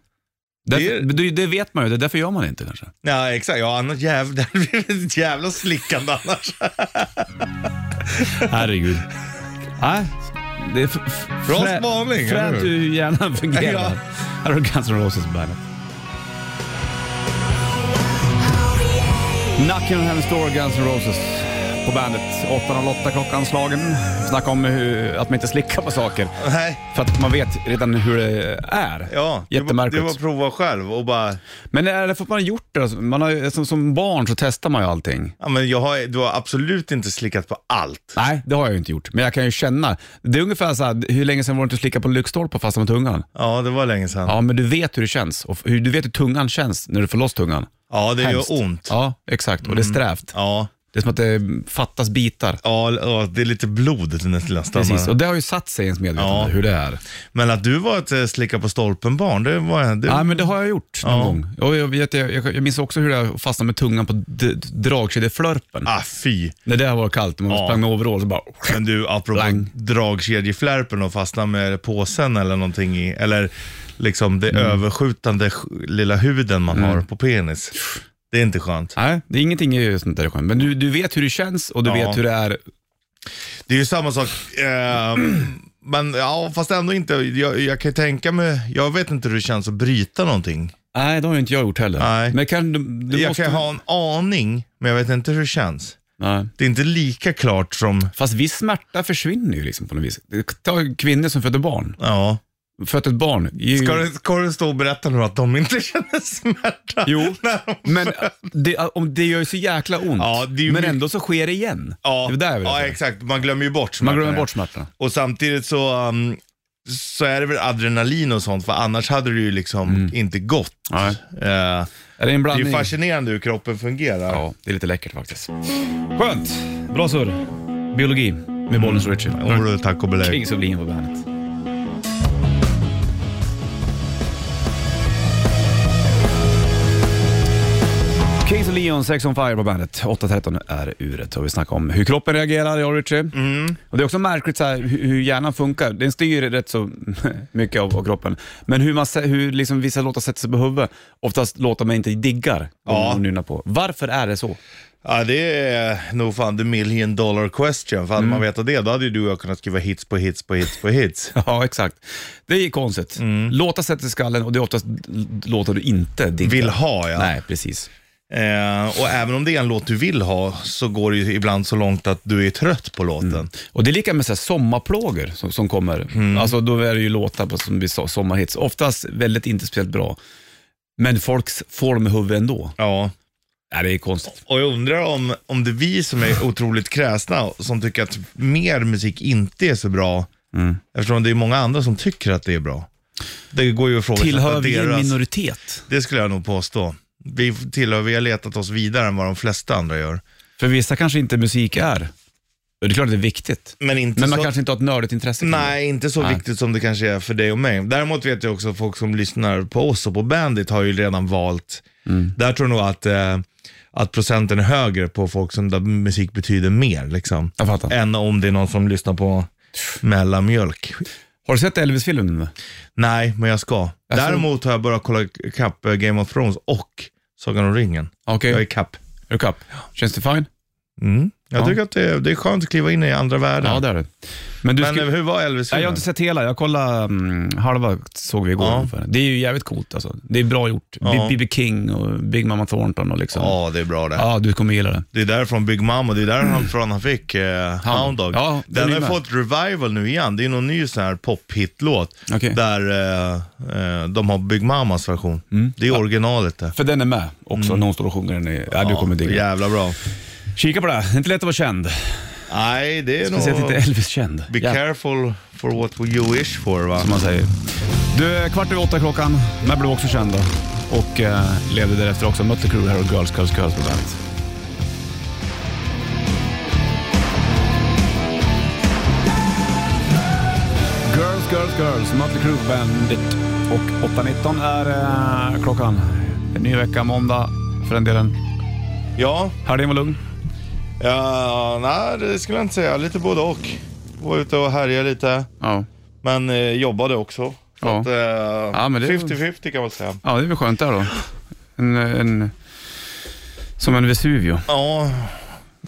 Speaker 3: Det
Speaker 2: Därför,
Speaker 3: är-
Speaker 2: det, det vet man ju, det är därför gör man det inte kanske.
Speaker 3: Nej, exakt. Ja, annars jävla, det hade blivit ett jävla slickande annars.
Speaker 2: Herregud. Nej, det är f- f-
Speaker 3: Bra
Speaker 2: frä-
Speaker 3: spaning, eller
Speaker 2: Fränt
Speaker 3: hur?
Speaker 2: hur hjärnan fungerar.
Speaker 3: Ja.
Speaker 2: Här har du Guns N' Roses på bandet. Knockin' on Heaven's Door, Guns N' Roses på bandet. 8.08 klockan slagen. Snacka om hur, att man inte slickar på saker.
Speaker 3: Nej.
Speaker 2: För att man vet redan hur det är.
Speaker 3: Ja, det var- det
Speaker 2: Jättemärkligt.
Speaker 3: var att prova själv och bara,
Speaker 2: Men är det för att man har gjort det? alltså? Man har, ju- som, som barn så testar man ju allting.
Speaker 3: ja, men jag har, du har absolut inte slickat på allt.
Speaker 2: Nej, det har jag ju inte gjort. Men jag kan ju känna. Det är ungefär så här, hur länge sedan var det inte att slicka på en lyktstolpe fast med tungan?
Speaker 3: Ja, det var länge sedan. Ja,
Speaker 2: Ja, men du vet hur det känns. Och hur, du vet hur tungan känns när du får loss tungan.
Speaker 3: det
Speaker 2: Hemskt.
Speaker 3: gör ont.
Speaker 2: Ja, exakt. Och det är strävt.
Speaker 3: Ja.
Speaker 2: Det är som att det fattas bitar.
Speaker 3: Ja, ja, det är lite blod nästan.
Speaker 2: Precis, och det har ju satt sig i ens medvetande
Speaker 3: Ja.
Speaker 2: hur det är.
Speaker 3: Men att du var ett eh, slicka på stolpen-barn, det var... Det...
Speaker 2: Ja, men det har jag gjort någon
Speaker 3: Ja.
Speaker 2: gång. Och jag, vet, jag, jag, jag minns också hur jag fastnade med tungan på d- d- dragkedjeflörpen.
Speaker 3: Ah, fy.
Speaker 2: När det var kallt och man
Speaker 3: Ja.
Speaker 2: sprang med overall så bara...
Speaker 3: Men du, apropå
Speaker 2: Blang.
Speaker 3: dragkedjeflärpen och fastna med påsen eller någonting i, eller liksom det
Speaker 2: Mm.
Speaker 3: överskjutande sk- lilla huden man har på penis. Det är inte skönt.
Speaker 2: Nej, det är ingenting är ju sånt där skönt. Men du, du vet hur det känns och du
Speaker 3: Ja.
Speaker 2: vet hur det är.
Speaker 3: Det är ju samma sak, eh, men ja, fast ändå inte. Jag, jag kan ju tänka mig, jag vet inte hur det känns att bryta någonting.
Speaker 2: Nej, det har ju inte jag gjort heller.
Speaker 3: Nej.
Speaker 2: Men kan, du, du
Speaker 3: jag
Speaker 2: måste...
Speaker 3: kan ha en aning, men jag vet inte hur det känns.
Speaker 2: Nej.
Speaker 3: Det är inte lika klart som,
Speaker 2: Fast viss smärta försvinner ju liksom på något vis. Ta kvinnor som föder barn.
Speaker 3: ja.
Speaker 2: Fött ett barn. Ju...
Speaker 3: Ska du, ska du stå och berätta nu att de inte känner smärta?
Speaker 2: Jo,
Speaker 3: När de-
Speaker 2: men äh, det, om det gör ju så jäkla ont.
Speaker 3: Ja, det är ju
Speaker 2: men
Speaker 3: mycket-
Speaker 2: ändå så sker det igen.
Speaker 3: Ja,
Speaker 2: Det är där jag vill
Speaker 3: ja
Speaker 2: säga.
Speaker 3: exakt. Man glömmer ju bort
Speaker 2: Man
Speaker 3: smärtan.
Speaker 2: glömmer bort smärtan.
Speaker 3: Och samtidigt så, um, så är det väl adrenalin och sånt, för annars hade det ju liksom
Speaker 2: Mm.
Speaker 3: inte gått.
Speaker 2: Nej.
Speaker 3: Eh, det
Speaker 2: Är det en
Speaker 3: är
Speaker 2: blandning?
Speaker 3: ju fascinerande hur kroppen fungerar.
Speaker 2: Ja, det är lite läckert faktiskt. Skönt! Bra surr. Biologi med Bollnäs och Richie.
Speaker 3: Om du tack och belägg.
Speaker 2: Kings of Lean på bandet. Kings of Leon, Sex on Fire på bandet. 8.13 är uret och vi snackar om hur kroppen reagerar, jag och Richie. Och det är också märkligt så här, hur hur hjärnan funkar. Den styr rätt så mycket av, av kroppen. Men hur, man, sä- hur liksom vissa låtar sätter sig på huvudet, oftast låtar man inte diggar
Speaker 3: Ja.
Speaker 2: ja. och nynnar på. Varför är det så?
Speaker 3: Ja, det är nog fan the million dollar question. För hade
Speaker 2: Mm.
Speaker 3: man vetat det, då hade ju du och jag kunnat skriva hits på hits på hits på hits.
Speaker 2: Ja, exakt. Det är konstigt.
Speaker 3: Mm.
Speaker 2: Låtar sätter sig i skallen och det är oftast l- låtar du inte diggar.
Speaker 3: Vill ha, ja.
Speaker 2: Nej, precis.
Speaker 3: Eh, och även om det är en låt du vill ha, så går det ju ibland så långt att du är trött på låten.
Speaker 2: Och det är lika med så här sommarplågor som, som kommer.
Speaker 3: Mm.
Speaker 2: Alltså då är det ju låtar på, som blir so- sommarhits. Oftast väldigt inte speciellt bra. Men folk s- får dem i huvudet ändå.
Speaker 3: Ja.
Speaker 2: Nej, det är konstigt.
Speaker 3: Och jag undrar om, om det är vi som är otroligt kräsna och som tycker att mer musik inte är så bra.
Speaker 2: Mm.
Speaker 3: Eftersom det är många andra som tycker att det är bra. Det går ju att fråga
Speaker 2: Tillhör vi en minoritet?
Speaker 3: Det skulle jag nog påstå. Vi tillhör, vi har letat oss vidare än vad de flesta andra gör.
Speaker 2: För vissa kanske inte musik är. Och Det är klart att det är viktigt.
Speaker 3: Men inte
Speaker 2: Men man
Speaker 3: så...
Speaker 2: kanske inte har ett nördigt intresse. kring
Speaker 3: Nej, inte så
Speaker 2: Nej.
Speaker 3: viktigt som det kanske är för dig och mig. Däremot vet jag också att folk som lyssnar på oss och på Bandit har ju redan valt.
Speaker 2: Mm.
Speaker 3: Där tror jag nog att, eh, att procenten är högre på folk som där musik betyder mer. Liksom.
Speaker 2: Jag fattar.
Speaker 3: Än om det är någon som lyssnar på mellanmjölk.
Speaker 2: det. Har du sett Elvis-filmen nu?
Speaker 3: Nej, men jag ska.
Speaker 2: Alltså-
Speaker 3: Däremot har jag börjat kolla kapp eh, Game of Thrones och Sagan om ringen.
Speaker 2: Okej,
Speaker 3: Jag är
Speaker 2: okay.
Speaker 3: kapp.
Speaker 2: är du kapp? Känns det fine?
Speaker 3: Mm. Jag
Speaker 2: Ja.
Speaker 3: tycker att det är, det är skönt att kliva in i andra världar.
Speaker 2: Ja, det är det. Men du
Speaker 3: Men eh,
Speaker 2: skulle-
Speaker 3: hur var Elvis?
Speaker 2: Nej, jag har inte sett hela. Jag kollade mm, halva såg vi igår
Speaker 3: Ja.
Speaker 2: ungefär. Det är ju jävligt coolt alltså. Det är bra gjort.
Speaker 3: Ja.
Speaker 2: B.B. King och Big Mama Thornton och liksom. Ja,
Speaker 3: Ja, det är bra det.
Speaker 2: du kommer gilla det.
Speaker 3: Det är därifrån Big Mama, det är därifrån han fick eh, Hound Dog.
Speaker 2: Ja, den
Speaker 3: den
Speaker 2: är
Speaker 3: har
Speaker 2: med.
Speaker 3: fått revival nu igen. Det är någon ny sån här pop-hit-låt
Speaker 2: Okej.
Speaker 3: där eh, eh, de har Big Mamas version.
Speaker 2: Mm.
Speaker 3: Det är originalet det.
Speaker 2: För den är med också när hon står och sjunger den. I, ja, du kommer digga
Speaker 3: Jävla bra.
Speaker 2: Kika på det. Det är inte lätt att vara känd.
Speaker 3: Nej, det är
Speaker 2: Speciellt
Speaker 3: nog...
Speaker 2: inte Elvis-känd.
Speaker 3: Be
Speaker 2: Ja,
Speaker 3: careful for what you wish for va?
Speaker 2: Som man säger. Du, eh, kvart över åtta klockan. När blev också känd då. Och eh, levde därefter också. Mötley Crüe här och Girls, Girls, Girls på bandet. Girls, Girls, Girls, Mötley Crüe Bandit. Och 8.19 är eh, klockan. En ny vecka, måndag för den delen.
Speaker 3: Ja,
Speaker 2: Helgen var lugn.
Speaker 3: ja, nej det skulle jag inte säga. Lite både och. Var ute och härjade lite,
Speaker 2: Ja.
Speaker 3: men eh, jobbade också. Så
Speaker 2: Ja.
Speaker 3: att, eh,
Speaker 2: men det-
Speaker 3: 50-50 kan man säga.
Speaker 2: ja, det är väl skönt där då. En, en, som en Vesuvio.
Speaker 3: Ja,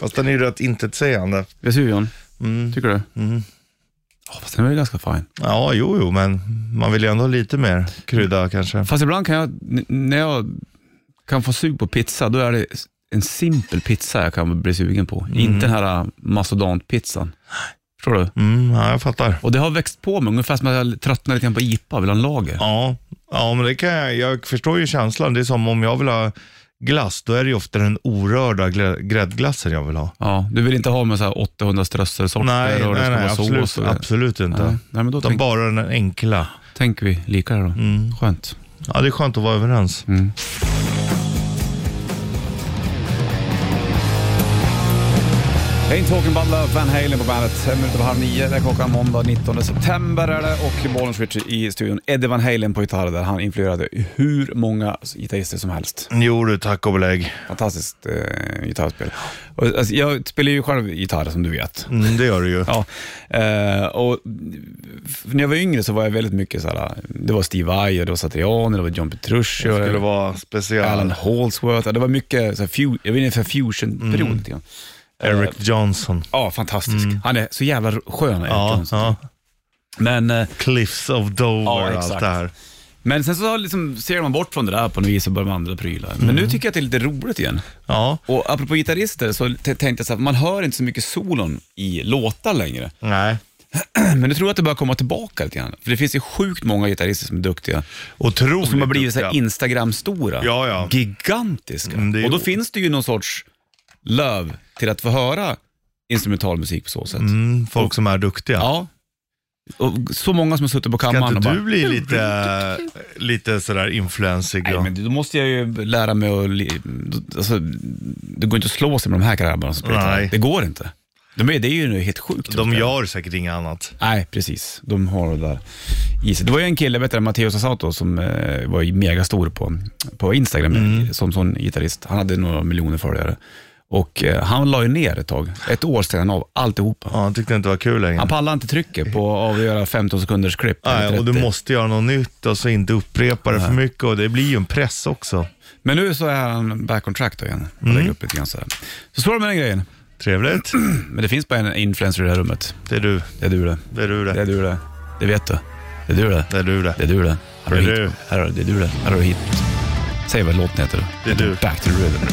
Speaker 3: fast den är ju rätt intetsägande.
Speaker 2: Vesuvion,
Speaker 3: Mm.
Speaker 2: tycker du? Mm. fast den var ju ganska fin.
Speaker 3: Ja, jo, jo, men man vill ju ändå ha lite mer krydda kanske.
Speaker 2: Fast ibland kan jag, n- när jag kan få sug på pizza, då är det en simpel pizza jag kan bli sugen på. Inte den här äh, mastodantpizzan. Förstår du?
Speaker 3: Mm. Mm, ja, jag fattar.
Speaker 2: Och det har växt på mig, ungefär som att jag tröttnar lite grann på IPA, vill ha en lager.
Speaker 3: Ja, ja men det kan jag, jag förstår ju känslan. Det är som om jag vill ha glass, då är det ju ofta den orörda glä- gräddglassen jag vill ha.
Speaker 2: Ja, du vill inte ha med så här 800 strösselsorter
Speaker 3: Nej,
Speaker 2: och det
Speaker 3: nej,
Speaker 2: ska
Speaker 3: nej
Speaker 2: vara
Speaker 3: absolut,
Speaker 2: sås. och-
Speaker 3: absolut inte.
Speaker 2: Nej, nej, men då
Speaker 3: Utan
Speaker 2: tänk,
Speaker 3: bara den enkla.
Speaker 2: tänker vi lika här då.
Speaker 3: Mm.
Speaker 2: Skönt.
Speaker 3: Ja, det är skönt att vara överens.
Speaker 2: Mm. Ain't talking about love, Van Halen på bandet. Fem minuter över halv nio, det är klockan måndag 19 september är det och Bollens Richard i studion. Eddie Van Halen på gitarr där han influerade hur många gitarrister som helst.
Speaker 3: Jo du, tack och belägg.
Speaker 2: Fantastiskt eh, gitarrspel. Och, alltså, jag spelar ju själv gitarr som du vet.
Speaker 3: Mm, det gör du ju.
Speaker 2: Ja, eh, och f- när jag var yngre så var jag väldigt mycket så här. det var Steve Vai och det var Satriani, det var John Petrucci.
Speaker 3: Det
Speaker 2: och-
Speaker 3: skulle vara
Speaker 2: Alan
Speaker 3: speciell.
Speaker 2: Holdsworth. Ja, Det var mycket så här, fu- jag var inne i en fusionperiod.
Speaker 3: Mm.
Speaker 2: lite grann.
Speaker 3: Eric Johnson.
Speaker 2: Ja, fantastisk. Han är så jävla skön. Eric
Speaker 3: Mm. Ja,
Speaker 2: Johnson.
Speaker 3: ja.
Speaker 2: Men, eh,
Speaker 3: Cliffs of Dover
Speaker 2: Ja,
Speaker 3: och allt
Speaker 2: exakt.
Speaker 3: det här.
Speaker 2: men sen så liksom ser man bort från det där på något vis och börjar med andra prylar. Men
Speaker 3: Mm.
Speaker 2: nu tycker jag att det är lite roligt igen.
Speaker 3: Ja,
Speaker 2: Och apropå gitarrister så t- tänkte jag så här, man hör inte så mycket solon i låtar längre.
Speaker 3: nej.
Speaker 2: Men nu tror jag att det börjar komma tillbaka lite grann. För det finns ju sjukt många gitarrister som är duktiga.
Speaker 3: Otroligt
Speaker 2: Som har blivit så här
Speaker 3: duktiga.
Speaker 2: Instagram-stora.
Speaker 3: Ja, ja.
Speaker 2: Gigantiska.
Speaker 3: Mm, det är-
Speaker 2: och då finns det ju någon sorts löv till att få höra instrumentalmusik på så sätt.
Speaker 3: Mm, folk som är duktiga.
Speaker 2: Ja. Och så många som har suttit på
Speaker 3: Kan
Speaker 2: kammaren
Speaker 3: inte
Speaker 2: och
Speaker 3: du
Speaker 2: bara...
Speaker 3: bli lite, lite sådär influensig
Speaker 2: Nej,
Speaker 3: då?
Speaker 2: men då måste jag ju lära mig att... li- Alltså, det går inte att slå sig med de här grabbarna som spelar
Speaker 3: Nej.
Speaker 2: gitarr. Det går inte. De är, det är ju helt sjukt.
Speaker 3: De gör säkert inget annat.
Speaker 2: Nej, precis. De har det där i sig. Det var ju en kille, vet du, Matteo Sassato, som eh, var ju megastor på, på Instagram
Speaker 3: Mm.
Speaker 2: som sån gitarrist. Han hade några miljoner följare. Och eh, han la ju ner ett tag. Ett år stängde han av alltihopa.
Speaker 3: Ja, han tyckte det inte var kul längre.
Speaker 2: Han pallade inte trycket på av att göra 15 sekunders klipp.
Speaker 3: Nej,
Speaker 2: eller
Speaker 3: och du
Speaker 2: 30.
Speaker 3: måste göra något nytt och så inte upprepa det för mycket och det blir ju en press också.
Speaker 2: Men nu så är han back on track då igen. Och
Speaker 3: Mm.
Speaker 2: lägger upp lite grann så här. Så så är det med den grejen.
Speaker 3: Trevligt.
Speaker 2: Men det finns bara en influencer i det här rummet.
Speaker 3: Det är du,
Speaker 2: Det är du det.
Speaker 3: det är du
Speaker 2: Det är
Speaker 3: det,
Speaker 2: du det. Det vet du. Det är du det.
Speaker 3: det är du det.
Speaker 2: Det är du det. Här har
Speaker 3: Det
Speaker 2: du
Speaker 3: är
Speaker 2: hit. Här har du. Det är du det. Här har du hit. Säg vad låten heter.
Speaker 3: Det är du.
Speaker 2: Back to the rhythm.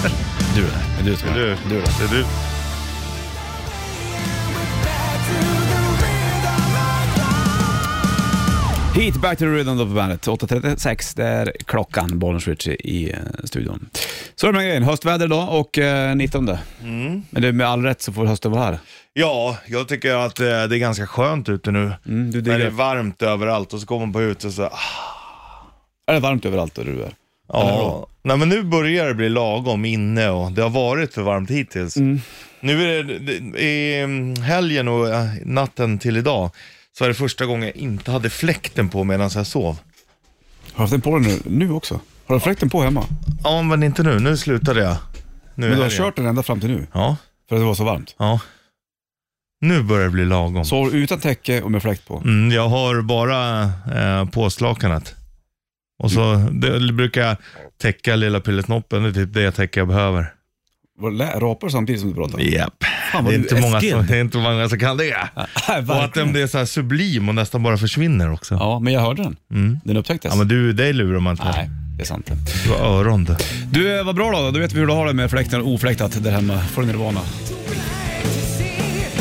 Speaker 2: Du det. Det är du som
Speaker 3: Det
Speaker 2: är
Speaker 3: är du,
Speaker 2: det.
Speaker 3: det är du.
Speaker 2: Hit, back to the rhythm då på bandet. 8.36, det är klockan. Bollens Ritchie i eh, studion. Så är det med grejen. Höstväder idag och eh, 19.
Speaker 3: Mm.
Speaker 2: Men det är med all rätt så får hösten vara här.
Speaker 3: Ja, jag tycker att eh, det är ganska skönt ute nu.
Speaker 2: Mm, du
Speaker 3: När det
Speaker 2: diggar.
Speaker 3: är varmt överallt och så går man på ut och så, ah,
Speaker 2: Är det varmt överallt där du är?
Speaker 3: ja. Nej men nu börjar det bli lagom inne och det har varit för varmt hittills.
Speaker 2: Mm.
Speaker 3: Nu är det, det- i mm, helgen och eh, natten till idag så är det första gången jag inte hade fläkten på medan jag sov.
Speaker 2: Har du haft den på dig nu, nu också? Har du fläkten på hemma?
Speaker 3: Ja, men inte nu. Nu slutade jag. Nu
Speaker 2: Men
Speaker 3: är
Speaker 2: du har
Speaker 3: helgen.
Speaker 2: kört den ända fram till nu?
Speaker 3: Ja,
Speaker 2: För att det var så varmt?
Speaker 3: ja. Nu börjar det bli lagom.
Speaker 2: Sov utan täcke och med fläkt på?
Speaker 3: Mm, jag har bara eh, påslakanet.
Speaker 2: Mm.
Speaker 3: Och så det, brukar jag täcka lilla pillesnoppen. Det är typ det täcke jag behöver.
Speaker 2: Var det lä- rapar samtidigt som du pratar?
Speaker 3: Japp.
Speaker 2: Fan, vad
Speaker 3: det, är
Speaker 2: du
Speaker 3: inte
Speaker 2: är
Speaker 3: många som,
Speaker 2: sked.
Speaker 3: det är inte många som kan det. och att den
Speaker 2: verkligen.
Speaker 3: blir så här sublim och nästan bara försvinner också. Ja,
Speaker 2: Ja, men jag hörde den. Den upptäcktes.
Speaker 3: Mm. men du, dig lurar man inte.
Speaker 2: Nej, det är sant.
Speaker 3: Du har öron du.
Speaker 2: Du, eh, vad bra då. Då vet vi hur du har det med fläkten och ofläktat där hemma. Får du Nirvana.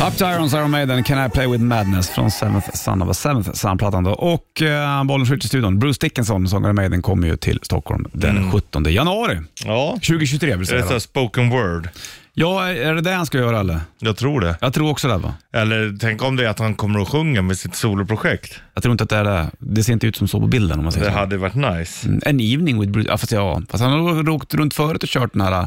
Speaker 2: Up to Irons, Iron Maiden, Can I Play With Madness från Seventh Son of a Seventh Son-plattan då. Och eh, bollen skjuter i studion. Bruce Dickinson, sångaren i Maiden, kommer ju till Stockholm den
Speaker 3: Mm.
Speaker 2: 17 januari
Speaker 3: Ja.
Speaker 2: 2023 vill
Speaker 3: Är det
Speaker 2: säga.
Speaker 3: så här
Speaker 2: då.
Speaker 3: spoken word?
Speaker 2: Ja, är det det han ska göra eller?
Speaker 3: Jag tror det.
Speaker 2: Jag tror också det va?
Speaker 3: Eller tänk om det är att han kommer att sjunga med sitt soloprojekt.
Speaker 2: Jag tror inte att det är det. Det ser inte ut som så på bilden om man säger
Speaker 3: Det
Speaker 2: så.
Speaker 3: hade varit nice.
Speaker 2: Mm, An evening with Bruce, ja, fast, ja, fast han har nog åkt runt förut och kört den här äh,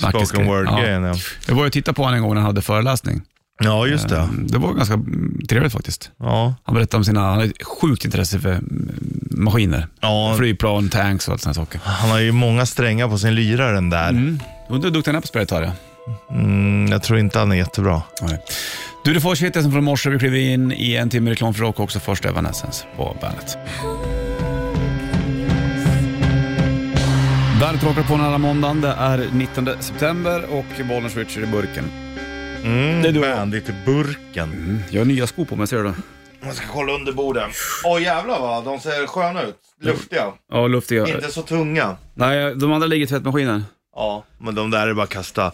Speaker 2: snackis-
Speaker 3: Spoken word-grejen ja.
Speaker 2: Jag var ju och tittade på honom en gång när han hade föreläsning.
Speaker 3: Ja, just det.
Speaker 2: Mm, Det var ganska mm, trevligt faktiskt.
Speaker 3: Ja.
Speaker 2: Han berättade om sina, han har ett sjukt intresse för mm, maskiner.
Speaker 3: Ja.
Speaker 2: Flygplan, tanks och allt sådana saker.
Speaker 3: Han har ju många strängar på sin lyra den där.
Speaker 2: Mm. Undrar hur duktig han är på att spela gitarr. ja.
Speaker 3: Mm, jag tror inte han är jättebra.
Speaker 2: Nej. Du, du får shitlisten från morse. Vi kliver in i en timme reklam för rock och också första Evanescence på bandet. Bandet rockar på den alla måndagen. Det är 19 september och Bollnäs Richard i burken.
Speaker 3: Mm,
Speaker 2: Det är du.
Speaker 3: Bandit-burken.
Speaker 2: Jag har nya skor på mig, ser du det?
Speaker 3: Man typ ska kolla under borden. Åh jävlar vad de ser sköna ut. Luftiga.
Speaker 2: Ja, luftiga.
Speaker 3: Inte så tunga.
Speaker 2: Nej, de andra ligger i tvättmaskinen.
Speaker 3: Ja, men de där är bara att kasta.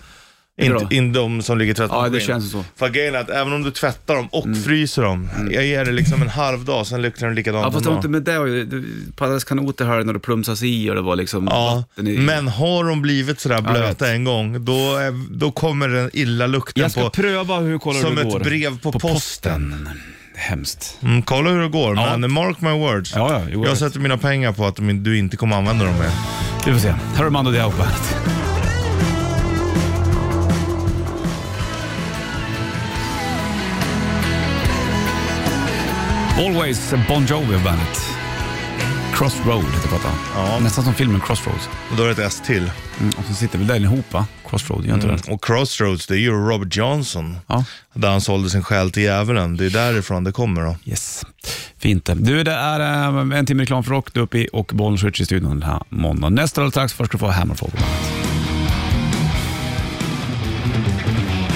Speaker 2: Är det
Speaker 3: Inte in de som ligger i
Speaker 2: Ja,
Speaker 3: tvättmaskinen.
Speaker 2: det känns så. Mm.
Speaker 3: För grejen är att även om du tvättar dem och fryser dem. Jag ger det liksom en halv dag, sen luktar de likadant.
Speaker 2: Ja, fast det
Speaker 3: ändå.
Speaker 2: var inte med det att göra. Det- Paddades kanoter här när det plumsas i och det var liksom
Speaker 3: Ja,
Speaker 2: vatten i.
Speaker 3: men har de blivit sådär
Speaker 2: jag
Speaker 3: blöta
Speaker 2: vet.
Speaker 3: en gång, då, är, då kommer den illa lukten
Speaker 2: Jag ska
Speaker 3: på...
Speaker 2: pröva hur kollar
Speaker 3: Som
Speaker 2: hur det
Speaker 3: ett
Speaker 2: går.
Speaker 3: brev på
Speaker 2: Hemskt.
Speaker 3: Mm, kolla hur det går,
Speaker 2: Ja.
Speaker 3: men mark my words.
Speaker 2: Ja, ja, jo, jag
Speaker 3: jag
Speaker 2: vet.
Speaker 3: sätter mina pengar på att de, du inte kommer använda dem mer.
Speaker 2: Vi får se. Här är Mando Diao på bandet. Always Bon Jovi och bandet. Crossroad heter plattan.
Speaker 3: Ja.
Speaker 2: Nästan som filmen Crossroads.
Speaker 3: Och då är det ett S till.
Speaker 2: Mm, och så sitter vi där Mm. ihop va? Crossroad, gör inte det?
Speaker 3: Och Crossroads, det är ju Robert Johnson.
Speaker 2: Ja.
Speaker 3: Där han sålde sin själ till djävulen. Det är därifrån det kommer då.
Speaker 2: Yes, fint det. Du, det är eh, en timme reklam för rock. Du är uppe i och Bollnäs Ritchie i studion den här måndagen. Nästa alldeles strax, först ska du få Hammerfall på bandet.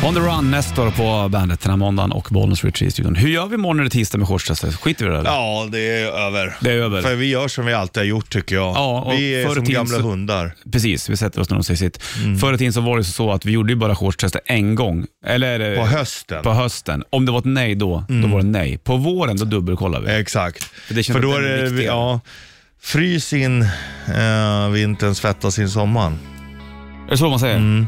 Speaker 2: On the run, Nestor på bandet den här måndagen och Bollnäs Ritchie i studion. Hur gör vi imorgon eller tisdag med shortstestet? Skiter vi i det eller?
Speaker 3: Ja, det är över.
Speaker 2: Det är över.
Speaker 3: För vi gör som vi alltid har gjort tycker jag.
Speaker 2: Ja, och
Speaker 3: vi är
Speaker 2: förr i
Speaker 3: som
Speaker 2: tiden
Speaker 3: gamla
Speaker 2: så-
Speaker 3: hundar.
Speaker 2: Precis, vi sätter oss när de säger sitt.
Speaker 3: Mm.
Speaker 2: Förr i tiden så var det så att vi gjorde ju bara shortstestet en gång. Eller är det-
Speaker 3: På hösten.
Speaker 2: Eh,
Speaker 3: Mm.
Speaker 2: På hösten. Om det var ett nej då, då var det nej. På våren, då dubbelkollar
Speaker 3: Eh.
Speaker 2: vi.
Speaker 3: Exakt. För,
Speaker 2: det känns
Speaker 3: då
Speaker 2: att
Speaker 3: är
Speaker 2: den är
Speaker 3: det,
Speaker 2: viktigare.
Speaker 3: ja, frys in eh, vintern, svettas in sommaren.
Speaker 2: Är det så man säger?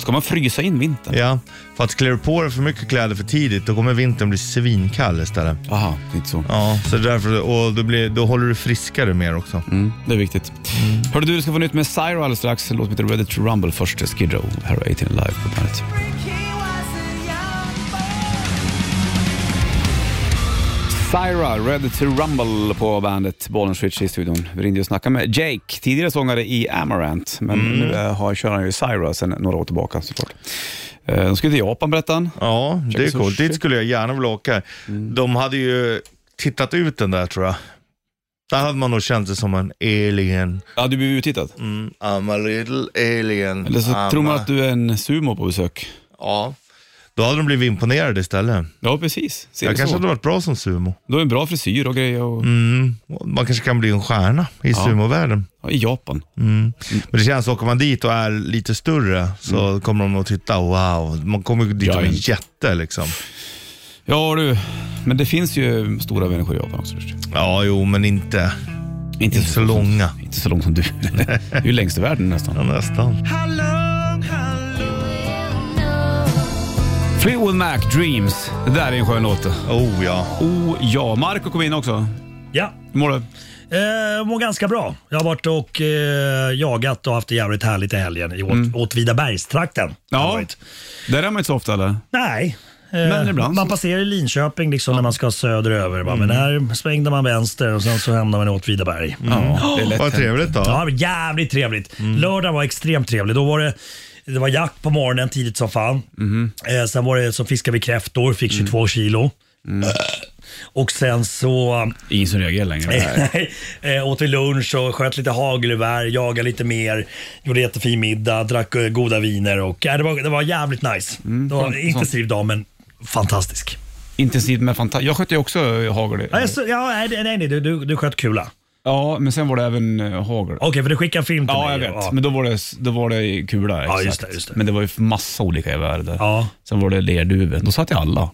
Speaker 2: Ska man frysa in vintern?
Speaker 3: Mm. Ja, för att klär du på dig för mycket kläder för tidigt, då kommer vintern bli svinkall istället.
Speaker 2: Aha, inte så.
Speaker 3: Ja, så därför, och då, blir, då håller du friskare mer också.
Speaker 2: Mm, det är viktigt. Hörde du, du ska få nytt med Cyro alldeles strax. Låt mig ta Ready to Rumble först. Skid Row, här är 18 Live på bandet. Cyra, Ready to Rumble på bandet Bollen Switch i studion. Vi ringde och snackade med Jake, tidigare sångare i Amarant, men nu eh, har, kör han ju Cyra sedan några år tillbaka såklart. Eh, De skulle till Japan berättade han.
Speaker 3: Ja, det är
Speaker 2: Käka
Speaker 3: coolt.
Speaker 2: sushi.
Speaker 3: Dit skulle jag gärna vilja åka.
Speaker 2: Mm.
Speaker 3: De hade ju tittat ut den där tror jag. Där hade man nog känt sig som en alien.
Speaker 2: Ja, du blev uttittad.
Speaker 3: Mm, I'm a little alien.
Speaker 2: Eller så
Speaker 3: I'm
Speaker 2: tror man
Speaker 3: a-
Speaker 2: att du är en sumo på besök.
Speaker 3: Ja. Då hade de blivit imponerade istället.
Speaker 2: Ja, precis. Ser
Speaker 3: Jag
Speaker 2: det
Speaker 3: kanske
Speaker 2: så.
Speaker 3: hade varit bra som sumo.
Speaker 2: Du har en bra frisyr och grejer. Och...
Speaker 3: Mm. Man kanske kan bli en stjärna i sumovärlden.
Speaker 2: Ja, I Japan.
Speaker 3: Men det känns, åker man dit och är lite större så
Speaker 2: Mm.
Speaker 3: kommer de att titta, wow. Man kommer ju dit som en
Speaker 2: Giant.
Speaker 3: jätte liksom.
Speaker 2: Ja du, men det finns ju stora människor i Japan också. Richard.
Speaker 3: Ja, jo, men inte, inte så långa.
Speaker 2: Inte så långt som du. Du är ju längst i världen nästan.
Speaker 3: Ja, nästan.
Speaker 2: Fleetwood Mac, Dreams. Det där är en skön låt.
Speaker 3: Oh ja.
Speaker 2: Oh ja, Marco kom in också.
Speaker 6: Ja,
Speaker 2: Hur mår du?
Speaker 6: eh, jag mår ganska bra. Jag har varit och eh, jagat och haft det jävligt härligt i helgen i Åt, Åtvidabergstrakten.
Speaker 2: Ja.
Speaker 6: Har jag varit.
Speaker 2: Där är man inte så ofta eller?
Speaker 6: Nej. Eh,
Speaker 2: Men ibland
Speaker 6: man
Speaker 2: så.
Speaker 6: passerar i Linköping liksom när man ska söderöver. va, Men här svängde man vänster och sen så hamnade man i Åtvidaberg.
Speaker 2: Mm. Ja, Mm. det är lätt
Speaker 3: Vad
Speaker 2: hänt.
Speaker 3: trevligt då.
Speaker 6: Ja, jävligt trevligt. Lördagen var extremt trevlig. Då var det det var jakt på morgonen
Speaker 2: Mm-hmm. Mm.
Speaker 6: tidigt som fan. Eh, sen var det som fiskade vi kräftor, fick 22 kilo. Och sen så
Speaker 2: Ingen som reagerar längre.
Speaker 6: Nej. Eh, åt vi lunch och sköt lite hagelgevär, jagade lite mer, gjorde jättefin middag, drack eh, goda viner och eh, det, var, det var jävligt nice.
Speaker 2: Mm.
Speaker 6: det var en intensiv dag men fantastisk.
Speaker 2: Intensivt med fantastiskt. Jag skötte ju också hagel.
Speaker 6: Ja, så, ja, nej, nej, nej du, du, du sköt kula.
Speaker 2: Ja, men sen var det även eh, hagel.
Speaker 6: Okej, för du skickade en film till
Speaker 2: Ja, jag
Speaker 6: mig.
Speaker 2: vet. Men då var det, då var det i kula.
Speaker 6: Ja,
Speaker 2: Exakt.
Speaker 6: just det, just det.
Speaker 2: Men det var ju massa olika gevär där.
Speaker 6: Ja.
Speaker 2: Sen var det lerduvor. Då satt jag alla.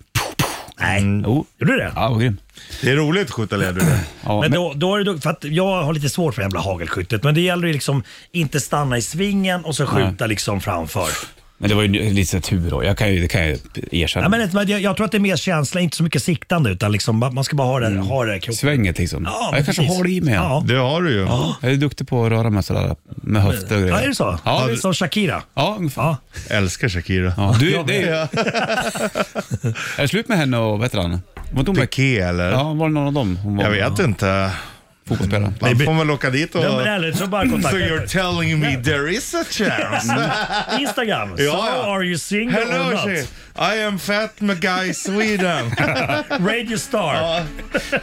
Speaker 6: Nej,
Speaker 2: Jo.
Speaker 6: gjorde du det?
Speaker 2: Ja, vad grym.
Speaker 3: Det är roligt att skjuta lerduvor.
Speaker 2: Ja,
Speaker 6: Men
Speaker 2: men,
Speaker 6: då, då är det, för att jag har lite svårt för jävla hagelskyttet, men det gäller ju liksom inte stanna i svingen och så skjuta liksom framför.
Speaker 2: men det var ju lite så här tur då. Jag kan ju, det kan jag erkänna.
Speaker 6: Nej, men, det- jag, jag tror att det är mer känsla, inte så mycket siktande, utan liksom, man ska bara ha det, ha det i kroppen.
Speaker 2: Svänget liksom.
Speaker 6: Ja,
Speaker 2: Mm. Ja,
Speaker 6: men
Speaker 2: jag kanske
Speaker 6: precis.
Speaker 2: har det i mig.
Speaker 6: Ja.
Speaker 3: Det har du ju.
Speaker 2: Jag är duktig på att röra mig sådär med höfter och
Speaker 6: Ja,
Speaker 2: grejer.
Speaker 6: är det så?
Speaker 2: Ja, visst.
Speaker 6: Som Shakira?
Speaker 2: ja ungefär.
Speaker 6: Ja.
Speaker 3: Älskar Shakira.
Speaker 2: Ja, du, det är, är det slut med henne och vad heter han? Var inte hon med,
Speaker 3: Piqué eller?
Speaker 2: ja, var det någon av dem? Hon var,
Speaker 3: Jag vet inte.
Speaker 2: Fotbollsspelare.
Speaker 3: Man får väl åka dit och...
Speaker 6: Ja, men eller så bara kontakta
Speaker 3: So you're telling me there is a chance?
Speaker 6: Mm. Instagram.
Speaker 3: Ja,
Speaker 6: so
Speaker 3: ja.
Speaker 6: are you single or
Speaker 3: Hello,
Speaker 6: not?
Speaker 3: she. I am fat guy Sweden.
Speaker 6: Radio Star.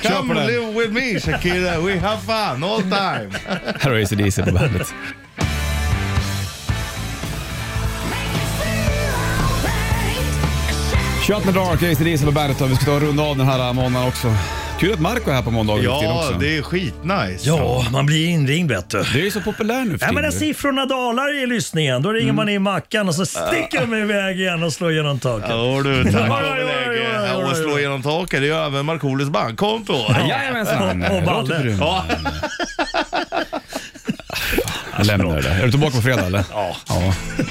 Speaker 3: Come
Speaker 2: den.
Speaker 3: live with me Shakira, we have fun all time.
Speaker 2: Här har ACDC på bandet. Shut the dark, ACDC på bandet. och Vi ska ta och runda av den här måndagen också. Kul att Marco är här på måndagen nu för tiden
Speaker 3: Ja,
Speaker 2: också.
Speaker 3: det är skitnice.
Speaker 6: Ja, man blir inringd vet du.
Speaker 2: Det är ju så populär nu för
Speaker 6: Ja, men när
Speaker 2: tiden.
Speaker 6: siffrorna dalar i lyssningen, då ringer man in Mackan och så sticker de iväg igen och slår genom taket.
Speaker 3: Ja du, tack
Speaker 6: Ja,
Speaker 3: och
Speaker 6: ja, ja,
Speaker 3: belägg.
Speaker 6: ja, ja,
Speaker 3: Ja, Och
Speaker 6: ja.
Speaker 3: slå genom taket, det gör även Markoolios bankkonto.
Speaker 2: Jajamensan!
Speaker 6: Och- och Balle.
Speaker 2: Låter brun.
Speaker 3: Ja.
Speaker 2: Jag lämnar det där. Är du tillbaka på fredag eller? Ja.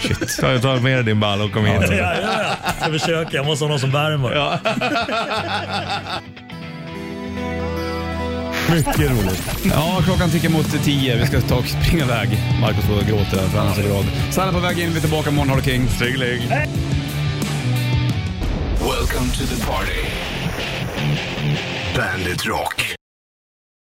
Speaker 2: Shit.
Speaker 3: Ta, ta med dig din ball och kom hit.
Speaker 6: Ja, ja, ja. Jag försöker, jag måste ha någon som värmer.
Speaker 7: Mycket roligt.
Speaker 2: Ja, klockan tickar mot tio. Vi ska ta och springa iväg. Marcus står och gråter där för han är så glad. Sanna på väg in. Vi är tillbaka imorgon. Ha det king.
Speaker 3: Trygg
Speaker 1: Welcome to the party. Bandit Rock.